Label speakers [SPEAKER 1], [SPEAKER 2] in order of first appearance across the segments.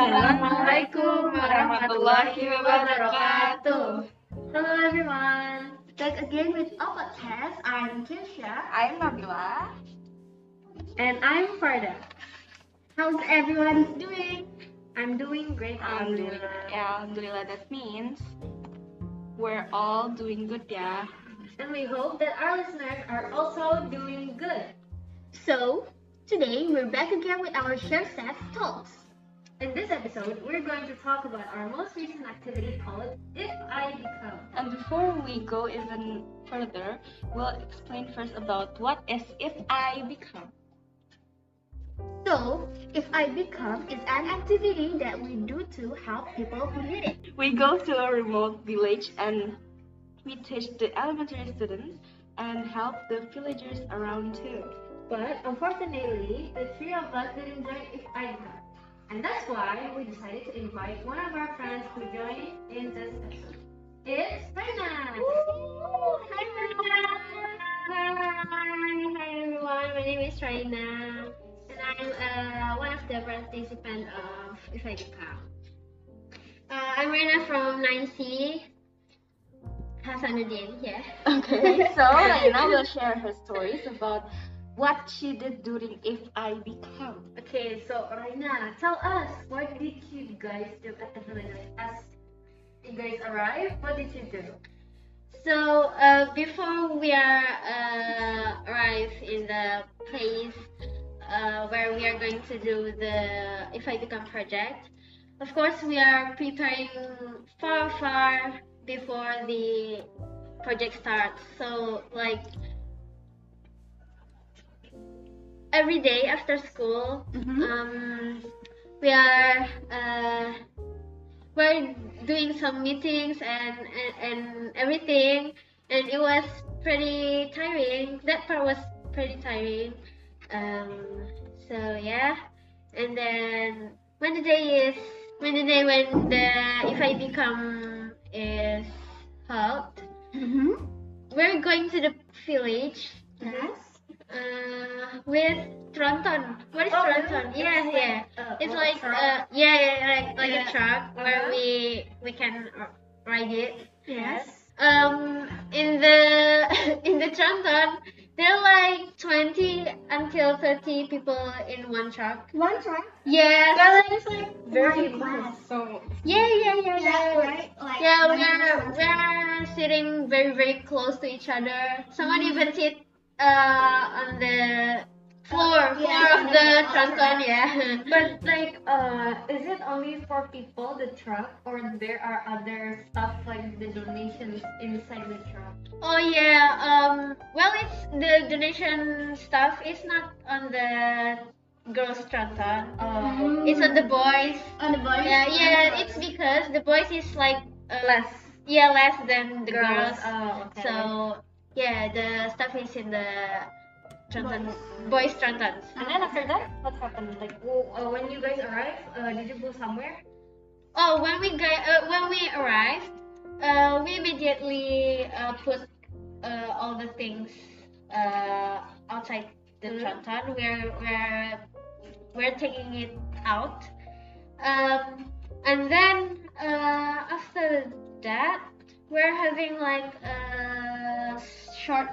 [SPEAKER 1] Assalamualaikum warahmatullahi wabarakatuh.
[SPEAKER 2] Hello everyone. Back again with our podcast. I'm Kisha
[SPEAKER 3] I'm Nabila.
[SPEAKER 2] and I'm Farda. How's everyone doing? I'm doing great.
[SPEAKER 3] Alhamdulillah. That means we're all doing good ya.
[SPEAKER 2] And we hope that our listeners are also doing good. So, today we're back again with our Share Seth Talks. In this episode, we're going to talk about our most recent activity called If I Become.
[SPEAKER 3] And before we go even further, we'll explain first about what is if I become.
[SPEAKER 2] So, If I Become is an activity that we do to help people who need it.
[SPEAKER 3] We go to a remote village and we teach the elementary students and help the villagers around too.
[SPEAKER 2] But unfortunately, the three of us didn't join If I Become. And that's why we decided to invite one of our friends to join in this episode. It's Hannah! Hi, Raina! Hi! Hi, everyone. My name is Raina. And I'm uh, one of the participants of If I Become. Uh, I'm Raina from 9C. Hasanuddin, yeah.
[SPEAKER 3] Okay, so Raina will share her stories about what she did during If I Become.
[SPEAKER 2] Okay, so Raina, tell us what did you guys do at the village as you guys arrived? What did you do?
[SPEAKER 1] So uh, before we are uh, arrive in the place uh, where we are going to do the If I Become project, of course we are preparing far far before the project starts. So like every day after school,
[SPEAKER 3] Mm-hmm.
[SPEAKER 1] um, we are uh, we're doing some meetings and, and and everything and it was pretty tiring that part was pretty tiring um so yeah and then when the day is when the day when the if i become is helped
[SPEAKER 3] Mm-hmm.
[SPEAKER 1] we're going to the village
[SPEAKER 3] Yes.
[SPEAKER 1] uh, with Tronton. What
[SPEAKER 3] Oh,
[SPEAKER 1] is Tronton? Yeah, yeah. It's like
[SPEAKER 2] uh,
[SPEAKER 1] uh, yeah, yeah, like like
[SPEAKER 3] Yeah.
[SPEAKER 1] a truck where
[SPEAKER 3] Uh-huh.
[SPEAKER 1] we we can r- ride it.
[SPEAKER 3] Yes.
[SPEAKER 1] Um, in the in the Tronton, there are like twenty until thirty people in one truck.
[SPEAKER 2] one track.
[SPEAKER 1] Yeah,
[SPEAKER 3] is like
[SPEAKER 2] very
[SPEAKER 3] very
[SPEAKER 2] class.
[SPEAKER 3] So
[SPEAKER 1] yeah, yeah, yeah,
[SPEAKER 2] Yeah,
[SPEAKER 1] yeah.
[SPEAKER 2] right. Like
[SPEAKER 1] Yeah,
[SPEAKER 2] one
[SPEAKER 1] we are
[SPEAKER 2] class.
[SPEAKER 1] we are sitting very very close to each other. Someone even sit uh on the floor
[SPEAKER 2] Yeah,
[SPEAKER 1] floor
[SPEAKER 2] on
[SPEAKER 1] of
[SPEAKER 2] the
[SPEAKER 1] the
[SPEAKER 2] floor.
[SPEAKER 1] tronton, yeah.
[SPEAKER 2] But like, uh, is it only for people the truck, or there are other stuff like the donations inside the truck?
[SPEAKER 1] Oh yeah. Um. Well, it's the donation stuff is not on the girls' Tronton.
[SPEAKER 2] Uh,
[SPEAKER 1] It's on the boys.
[SPEAKER 2] on the boys. Uh,
[SPEAKER 1] Yeah, yeah. It's because the boys is like uh,
[SPEAKER 2] less
[SPEAKER 1] Yeah, less than the girls.
[SPEAKER 2] Oh, okay.
[SPEAKER 1] So yeah, the stuff is in the Tronton. Boys Trontons.
[SPEAKER 3] and then after that, what happened? Like
[SPEAKER 2] Well, uh, when you guys arrived, uh, did you go somewhere?
[SPEAKER 1] Oh, when we got, uh, when we arrived, uh, we immediately uh, put uh, all the things uh, outside the
[SPEAKER 3] Mm.
[SPEAKER 1] Tronton. We're we're we're taking it out, um, and then uh, after that, we're having like a short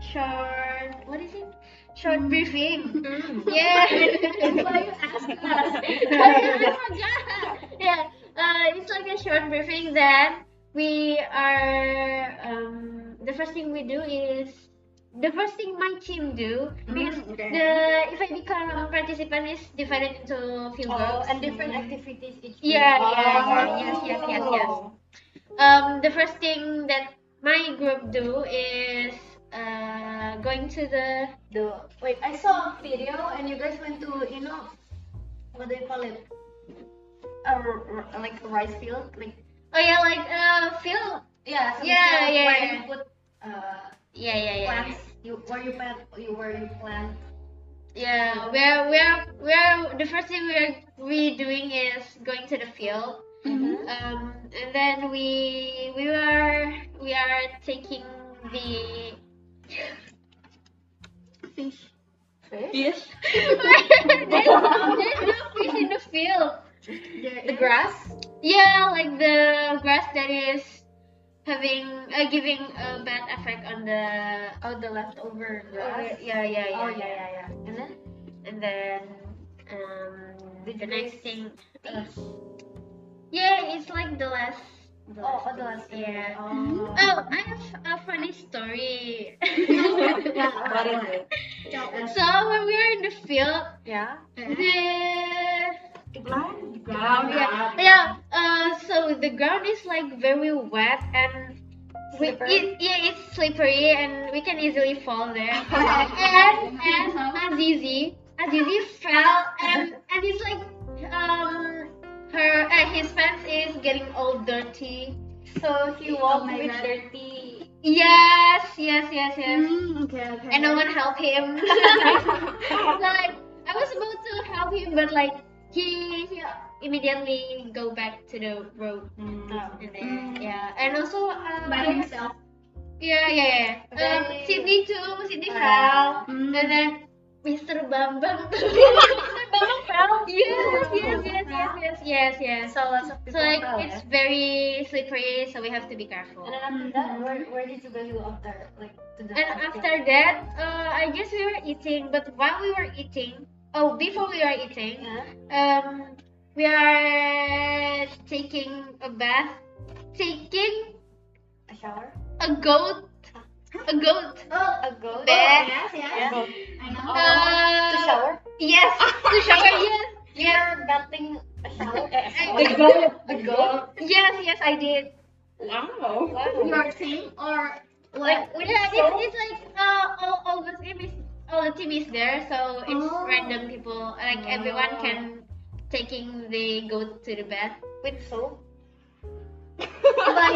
[SPEAKER 1] short what is it? Short briefing.
[SPEAKER 3] Mm-hmm.
[SPEAKER 1] Yeah.
[SPEAKER 2] That's why you asked
[SPEAKER 1] I
[SPEAKER 2] us.
[SPEAKER 1] forgot. Yeah, uh, it's like a short briefing. Then we are. Um, the first thing we do is the first thing my team do
[SPEAKER 2] Mm-hmm.
[SPEAKER 1] because the if I become a participant is divided into few
[SPEAKER 3] oh,
[SPEAKER 1] groups.
[SPEAKER 3] and different activities each
[SPEAKER 1] Mm-hmm. Yeah,
[SPEAKER 3] week.
[SPEAKER 1] yeah,
[SPEAKER 2] yeah,
[SPEAKER 3] Oh.
[SPEAKER 2] yes, yes, yes,
[SPEAKER 1] yes. Um, the first thing that my group do is uh, going to the
[SPEAKER 2] The, wait, I saw a video and you guys went to, you know, what do you call it? A r- r- like a rice field? Like,
[SPEAKER 1] oh yeah like uh field
[SPEAKER 2] yeah, some
[SPEAKER 1] Yeah,
[SPEAKER 2] field
[SPEAKER 1] yeah,
[SPEAKER 2] where
[SPEAKER 1] yeah.
[SPEAKER 2] you put uh,
[SPEAKER 1] yeah yeah yeah yeah.
[SPEAKER 2] plants, you, where you plant, you, where you plant.
[SPEAKER 1] Yeah, we're we're we're the first thing we're we doing is going to the field. Um, and then we we are we are taking the
[SPEAKER 2] Fish?
[SPEAKER 3] Yes.
[SPEAKER 1] there's, no, there's no fish in the field. the grass. Yeah, like the grass that is having uh, giving a bad effect on the oh the leftover grass.
[SPEAKER 2] Grass.
[SPEAKER 1] Yeah, yeah, yeah.
[SPEAKER 2] Oh yeah, yeah, yeah. And then
[SPEAKER 1] And then um,
[SPEAKER 2] Did
[SPEAKER 1] the
[SPEAKER 2] you
[SPEAKER 1] next thing. uh,
[SPEAKER 2] things?
[SPEAKER 1] yeah, it's like the last. The
[SPEAKER 2] oh, oh, the
[SPEAKER 1] thing,
[SPEAKER 2] last thing.
[SPEAKER 1] Yeah.
[SPEAKER 2] Oh.
[SPEAKER 1] Oh, I have a funny story.
[SPEAKER 3] What is it?
[SPEAKER 1] so when we were in the field,
[SPEAKER 2] Yeah.
[SPEAKER 1] the
[SPEAKER 3] The ground? The
[SPEAKER 2] ground,
[SPEAKER 1] yeah, yeah. Uh, so the ground is like very wet and we,
[SPEAKER 3] Slippery?
[SPEAKER 1] it, yeah, it's slippery and we can easily fall there. and and Azizi, Azizi fell and and it's like um her uh, his pants is getting all dirty. So he
[SPEAKER 2] Oh
[SPEAKER 1] walked
[SPEAKER 2] my
[SPEAKER 1] with
[SPEAKER 2] God.
[SPEAKER 1] dirty. Yes, yes, yes, yes.
[SPEAKER 3] Mm-hmm.
[SPEAKER 2] okay, okay.
[SPEAKER 1] and no one helped him. like I was about to help him, but like he, he immediately go back to the road. And then,
[SPEAKER 3] Mm.
[SPEAKER 1] Yeah, and also um,
[SPEAKER 2] by himself.
[SPEAKER 1] yeah, yeah, yeah. Um,
[SPEAKER 2] Okay.
[SPEAKER 1] Sydney too, Sydney
[SPEAKER 2] Uh,
[SPEAKER 1] fell,
[SPEAKER 3] mm.
[SPEAKER 1] and then Mr. Bambang, Mr. Bambang fell. Yes,
[SPEAKER 2] Mr.
[SPEAKER 1] yes,
[SPEAKER 2] Bambang
[SPEAKER 1] yes, yes, yes,
[SPEAKER 2] fell.
[SPEAKER 1] yes, yes.
[SPEAKER 2] So lots of
[SPEAKER 1] So
[SPEAKER 2] people
[SPEAKER 1] like
[SPEAKER 2] fell,
[SPEAKER 1] it's
[SPEAKER 2] yeah?
[SPEAKER 1] very slippery, so we have to be careful.
[SPEAKER 2] eh? And uh, then after that, where, where did you go after like to the
[SPEAKER 1] And after that, uh, I guess we were eating, but while we were eating, oh, before we were eating,
[SPEAKER 2] Yeah.
[SPEAKER 1] um, we are taking a bath, taking
[SPEAKER 2] A shower.
[SPEAKER 1] a goat, a goat.
[SPEAKER 2] Oh, a goat.
[SPEAKER 1] Bath.
[SPEAKER 2] yes, yes.
[SPEAKER 3] Yeah.
[SPEAKER 2] I know.
[SPEAKER 1] Uh,
[SPEAKER 2] to Oh, shower.
[SPEAKER 1] Yes, to shower. Yes,
[SPEAKER 2] You're bathing a shower. eh, a shower.
[SPEAKER 1] The
[SPEAKER 3] goat.
[SPEAKER 2] A goat.
[SPEAKER 1] yes, yes. I did.
[SPEAKER 3] Wow.
[SPEAKER 2] Your team or
[SPEAKER 1] Like,
[SPEAKER 2] what?
[SPEAKER 1] yeah, it's, it's like uh, all all the team is all the team is there, so it's
[SPEAKER 2] Oh.
[SPEAKER 1] random people. Like everyone
[SPEAKER 2] Oh.
[SPEAKER 1] can taking the goat to the bath.
[SPEAKER 2] with soap.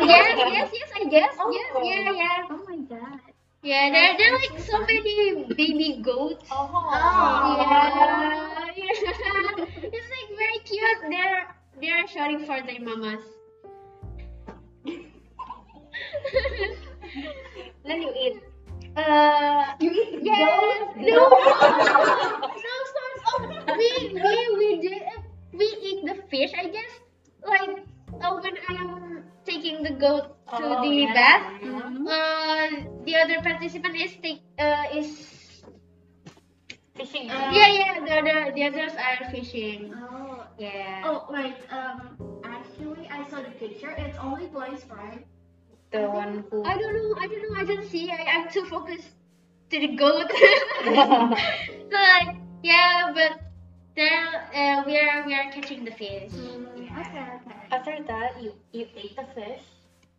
[SPEAKER 1] yes, yes, yes, I guess.
[SPEAKER 3] Oh.
[SPEAKER 1] Yes, yeah, yeah.
[SPEAKER 2] Oh my god.
[SPEAKER 1] Yeah, there, there are like so many baby goats.
[SPEAKER 2] Oh.
[SPEAKER 1] Yeah, yeah. It's like very cute. They're they're shouting for their mamas.
[SPEAKER 2] Then you eat.
[SPEAKER 1] uh,
[SPEAKER 3] You eat the
[SPEAKER 1] yes, no, no, sorry. Oh, we we we did we eat the fish. I guess like oh when I'm taking the goat to
[SPEAKER 2] Oh,
[SPEAKER 1] the
[SPEAKER 2] yeah.
[SPEAKER 1] bath.
[SPEAKER 2] Mhm.
[SPEAKER 1] Uh, the other participant is take uh is
[SPEAKER 2] Fishing.
[SPEAKER 1] yeah yeah the other the others are fishing
[SPEAKER 4] Oh,
[SPEAKER 1] yeah
[SPEAKER 4] oh, wait. Um, actually, I saw the picture. It's only boys, right?
[SPEAKER 3] The one who.
[SPEAKER 1] I don't know I don't know I don't see I I'm too focused to the goat so like yeah but there uh, we are we are catching the fish
[SPEAKER 4] Okay, okay.
[SPEAKER 2] After that, you you ate the fish,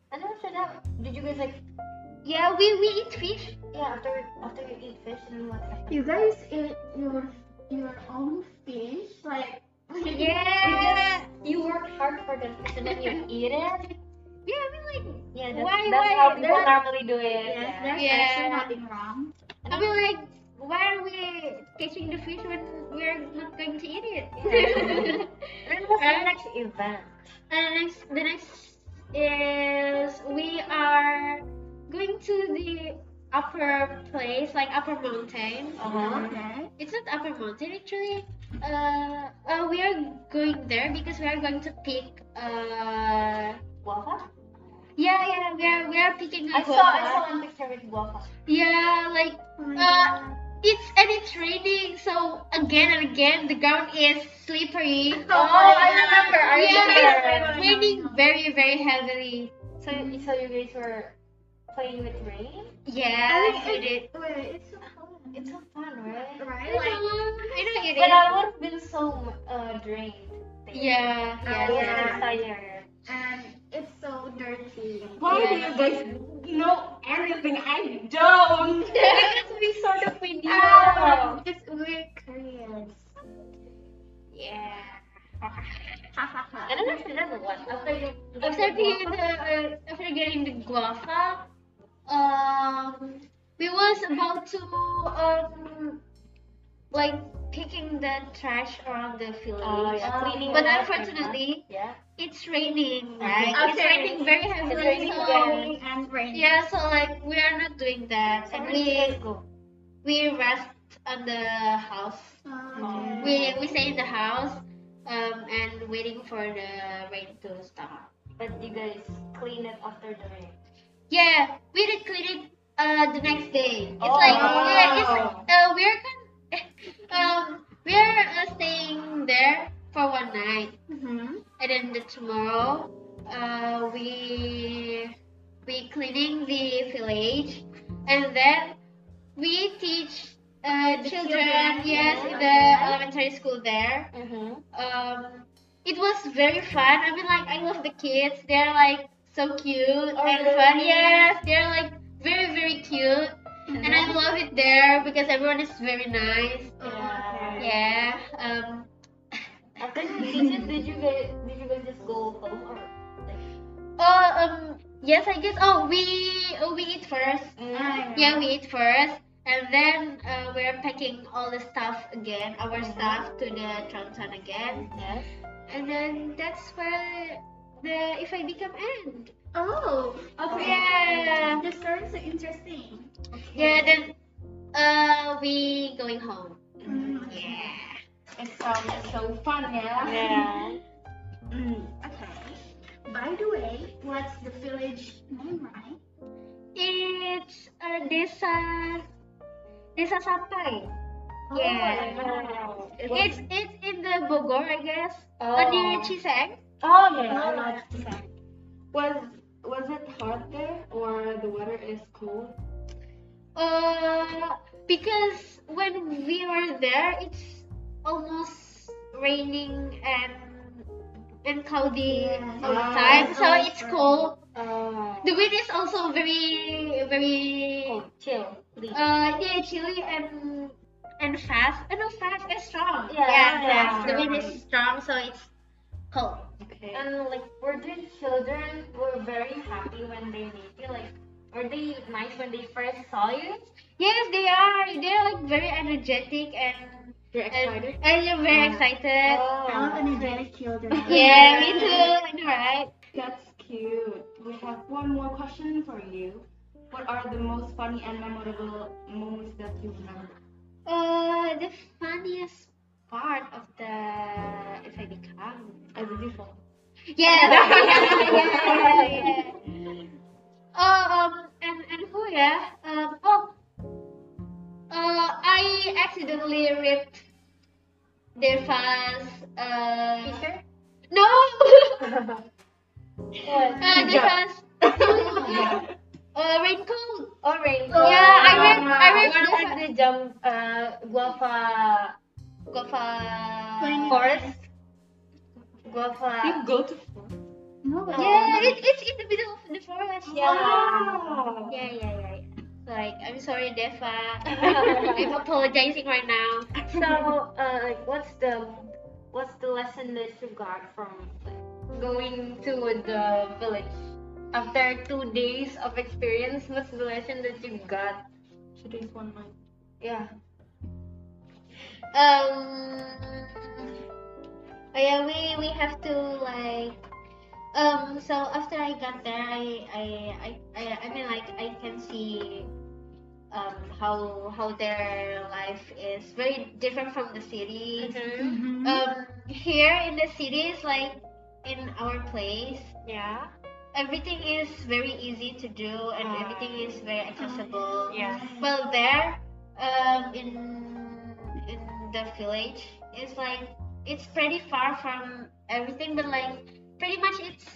[SPEAKER 2] and then after that, did you guys like
[SPEAKER 1] yeah we we eat fish
[SPEAKER 2] yeah after after you eat fish and then what happened?
[SPEAKER 4] You guys eat your your own fish, like
[SPEAKER 1] yeah
[SPEAKER 2] You worked hard for the fish and then you eat it.
[SPEAKER 1] yeah I mean like
[SPEAKER 2] Yeah, that's,
[SPEAKER 1] Why-
[SPEAKER 2] that's
[SPEAKER 1] why-
[SPEAKER 2] how people
[SPEAKER 1] that-
[SPEAKER 2] normally do it.
[SPEAKER 4] yes, there's
[SPEAKER 1] Yeah.
[SPEAKER 4] actually nothing wrong.
[SPEAKER 1] I mean like why are we catching the fish when we are not going to eat it
[SPEAKER 2] Yeah. And then what's
[SPEAKER 1] Right?
[SPEAKER 2] the next event?
[SPEAKER 1] And the next, the next is we are going to the upper place, like upper mountain.
[SPEAKER 2] Uh-huh.
[SPEAKER 4] Okay.
[SPEAKER 1] It's not upper mountain actually. Uh, uh, we are going there because we are going to pick. Uh,
[SPEAKER 2] Guava.
[SPEAKER 1] yeah, yeah, we are we are picking a
[SPEAKER 2] I saw I saw one picture with guava.
[SPEAKER 1] Yeah, like
[SPEAKER 4] Oh my
[SPEAKER 1] Uh,
[SPEAKER 4] God.
[SPEAKER 1] it's and it's raining, so again and again the ground is slippery.
[SPEAKER 2] Oh, I remember, I
[SPEAKER 1] yeah,
[SPEAKER 2] remember.
[SPEAKER 1] it's raining very very heavily.
[SPEAKER 2] So you- so you guys were playing with rain.
[SPEAKER 1] Yeah, we did.
[SPEAKER 4] Wait, it's so fun.
[SPEAKER 2] It's so fun, right?
[SPEAKER 1] I
[SPEAKER 4] right?
[SPEAKER 1] know,
[SPEAKER 4] Like,
[SPEAKER 1] I know it
[SPEAKER 2] But I
[SPEAKER 1] is.
[SPEAKER 2] would have been so uh, drained.
[SPEAKER 1] Yeah, yeah,
[SPEAKER 2] I was
[SPEAKER 1] yeah.
[SPEAKER 4] yeah.
[SPEAKER 2] tired.
[SPEAKER 4] and it's so dirty.
[SPEAKER 3] Why
[SPEAKER 1] Yeah.
[SPEAKER 3] do you guys know everything? I don't.
[SPEAKER 1] Because we sort of we knew.
[SPEAKER 4] Um, it's we're Koreans.
[SPEAKER 1] Yeah.
[SPEAKER 4] Ha ha ha.
[SPEAKER 2] And then after that, what? After you
[SPEAKER 1] After getting
[SPEAKER 2] Oh,
[SPEAKER 1] the uh, after getting the guava, um, we was about to um, like picking the trash around the field. Um,
[SPEAKER 2] Oh, yeah. Cleaning
[SPEAKER 1] But
[SPEAKER 2] it up,
[SPEAKER 1] unfortunately,
[SPEAKER 2] yeah.
[SPEAKER 1] it's raining. Right? It's
[SPEAKER 4] Okay.
[SPEAKER 1] raining very heavily.
[SPEAKER 2] raining
[SPEAKER 1] so
[SPEAKER 2] very-
[SPEAKER 4] and rain.
[SPEAKER 1] yeah, so like we are not doing that,
[SPEAKER 2] So
[SPEAKER 1] and
[SPEAKER 2] where did you
[SPEAKER 1] we
[SPEAKER 2] guys go?
[SPEAKER 1] we rest on the house.
[SPEAKER 4] Okay.
[SPEAKER 2] Um,
[SPEAKER 1] We we stay in the house um, and waiting for the rain to stop.
[SPEAKER 2] But you guys clean it after the rain.
[SPEAKER 1] Yeah, we did clean it uh, the next day. It's
[SPEAKER 2] Oh.
[SPEAKER 1] like yeah, it's uh, we're con- um we're uh, staying there for one night,
[SPEAKER 4] Mm-hmm.
[SPEAKER 1] and then the tomorrow uh, we we cleaning the village, and then we teach uh, the children,
[SPEAKER 4] children,
[SPEAKER 1] yes
[SPEAKER 4] yeah.
[SPEAKER 1] in the elementary school there
[SPEAKER 2] Mm-hmm.
[SPEAKER 1] um, it was very fun. I mean, like I love the kids. They're like so cute and
[SPEAKER 2] really?
[SPEAKER 1] fun. Yes, they're like very very cute, and I love it there because everyone is very nice.
[SPEAKER 2] Yeah.
[SPEAKER 1] Yeah. Um,
[SPEAKER 2] After you teach it, did you guys did you guys just go home or?
[SPEAKER 1] oh um yes I guess. Oh we oh, we eat first.
[SPEAKER 2] Mm-hmm.
[SPEAKER 1] Yeah, we eat first. And then uh, we're packing all the stuff again, our stuff to the Tronton again.
[SPEAKER 2] Yes.
[SPEAKER 1] And then that's where the If I Become end.
[SPEAKER 4] Oh, okay.
[SPEAKER 1] Yeah.
[SPEAKER 4] The story is so interesting.
[SPEAKER 1] Yeah, then uh we going home.
[SPEAKER 4] Mm.
[SPEAKER 1] Yeah.
[SPEAKER 2] It sounds so fun, yeah.
[SPEAKER 3] Yeah.
[SPEAKER 4] Mm, okay. By the way, what's the village name, right?
[SPEAKER 1] It's uh, desa desa sampai.
[SPEAKER 2] Oh
[SPEAKER 1] Yeah.
[SPEAKER 2] my God. It was-
[SPEAKER 1] It's it's in the Bogor, I guess.
[SPEAKER 3] Oh.
[SPEAKER 1] Oh. Uh, near Chiseng.
[SPEAKER 3] Oh
[SPEAKER 4] Oh,
[SPEAKER 3] yeah.
[SPEAKER 4] yeah.
[SPEAKER 3] Was was it hot there or the water is cool?
[SPEAKER 1] Uh, because when we were there, it's almost raining and and cloudy
[SPEAKER 4] Yeah.
[SPEAKER 1] all the
[SPEAKER 3] Ah,
[SPEAKER 1] time, so
[SPEAKER 4] always
[SPEAKER 1] it's
[SPEAKER 4] rain.
[SPEAKER 1] cold.
[SPEAKER 3] Oh.
[SPEAKER 1] The wind is also very very
[SPEAKER 2] Oh, chill.
[SPEAKER 1] Uh, yeah, chilly and and fast. Uh, no, fast and strong.
[SPEAKER 2] Yeah, yeah.
[SPEAKER 1] fast. The wind is strong, so it's cold.
[SPEAKER 3] Okay.
[SPEAKER 1] Um,
[SPEAKER 2] And like were the children were very happy when they meet you? Like were they nice when they first saw you?
[SPEAKER 1] Yes, they are. They are like very energetic and
[SPEAKER 3] You're
[SPEAKER 1] and,
[SPEAKER 3] excited?
[SPEAKER 1] and you're very
[SPEAKER 3] Ah.
[SPEAKER 1] excited.
[SPEAKER 2] Oh.
[SPEAKER 4] I love energetic children.
[SPEAKER 1] Yeah, me too. I know, right?
[SPEAKER 3] That's cute. We have one more question for you. What are the most funny and memorable moments that you remember?
[SPEAKER 1] Uh, the funniest part of the if I become.
[SPEAKER 3] As a default.
[SPEAKER 1] Yeah, yeah, yeah, yeah. Oh, um, and and who? Yeah. Um. Oh. Uh, I accidentally ripped Deva's uh. No. uh, Deva's uh, raincoat.
[SPEAKER 2] Oh, rain.
[SPEAKER 1] Oh, yeah, I read- I read
[SPEAKER 2] one
[SPEAKER 1] this-
[SPEAKER 2] at the jump uh guava
[SPEAKER 1] Guava.
[SPEAKER 4] Rain-
[SPEAKER 2] forest.
[SPEAKER 3] You
[SPEAKER 2] Guava.
[SPEAKER 3] go to
[SPEAKER 4] No, but
[SPEAKER 1] Yeah, it, it's in the middle of the forest.
[SPEAKER 2] Oh.
[SPEAKER 3] Wow.
[SPEAKER 1] Yeah, yeah, yeah. yeah. Like, I'm sorry, Deva. I'm apologizing right now.
[SPEAKER 2] So uh, like, what's the what's the lesson that you got from like, going to the village? After two days of experience, what's the lesson that you got?
[SPEAKER 3] Today's one month.
[SPEAKER 2] Yeah.
[SPEAKER 1] Um. Oh yeah, we we have to like. Um. So after I got there, I I I I, I mean like I can see. Um, how how their life is very different from the city.
[SPEAKER 2] Mm-hmm.
[SPEAKER 4] Mhm.
[SPEAKER 1] Um, here in the cities, like in our place,
[SPEAKER 2] Yeah.
[SPEAKER 1] everything is very easy to do and
[SPEAKER 2] Ah.
[SPEAKER 1] everything is very accessible.
[SPEAKER 2] Yeah.
[SPEAKER 1] Well, there, um, in in the village, it's like it's pretty far from everything, but like pretty much it's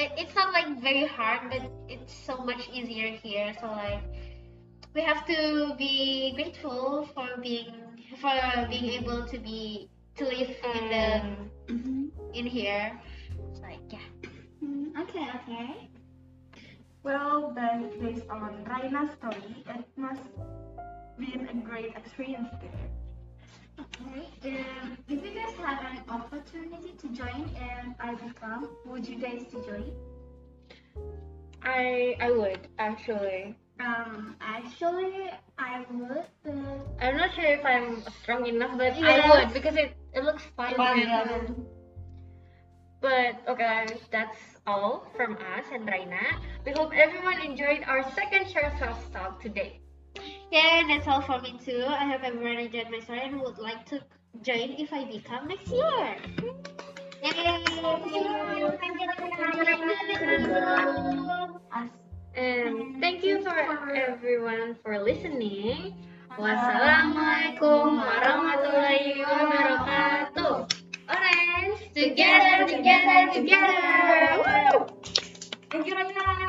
[SPEAKER 1] it, it's not like very hard, but it's so much easier here. So like we have to be grateful for being for being able to be to live in the
[SPEAKER 4] Mhm.
[SPEAKER 1] in here. It's like yeah.
[SPEAKER 4] Mm, Okay, okay.
[SPEAKER 3] Well, then based on Raina's story, it must been a great experience there.
[SPEAKER 4] Okay. Um, if you guys have an opportunity to join and I become, would you guys to join?
[SPEAKER 2] I I would actually.
[SPEAKER 4] Um, actually, I would, but
[SPEAKER 2] I'm not sure if I'm strong enough, but
[SPEAKER 4] Yes.
[SPEAKER 2] I would because it it looks fun.
[SPEAKER 3] Fun,
[SPEAKER 2] and-
[SPEAKER 3] yeah.
[SPEAKER 2] But okay, that's all from us and Raina. We hope everyone enjoyed our second Share Self Talk today.
[SPEAKER 1] Okay, that's all for me too. I hope everyone enjoyed my story and would like to join if I become next year.
[SPEAKER 4] Us.
[SPEAKER 1] And Um, thank you for everyone for listening. Wassalamualaikum warahmatullahi wabarakatuh. Orange, together, together, together. Woo!
[SPEAKER 2] Thank you, Raina.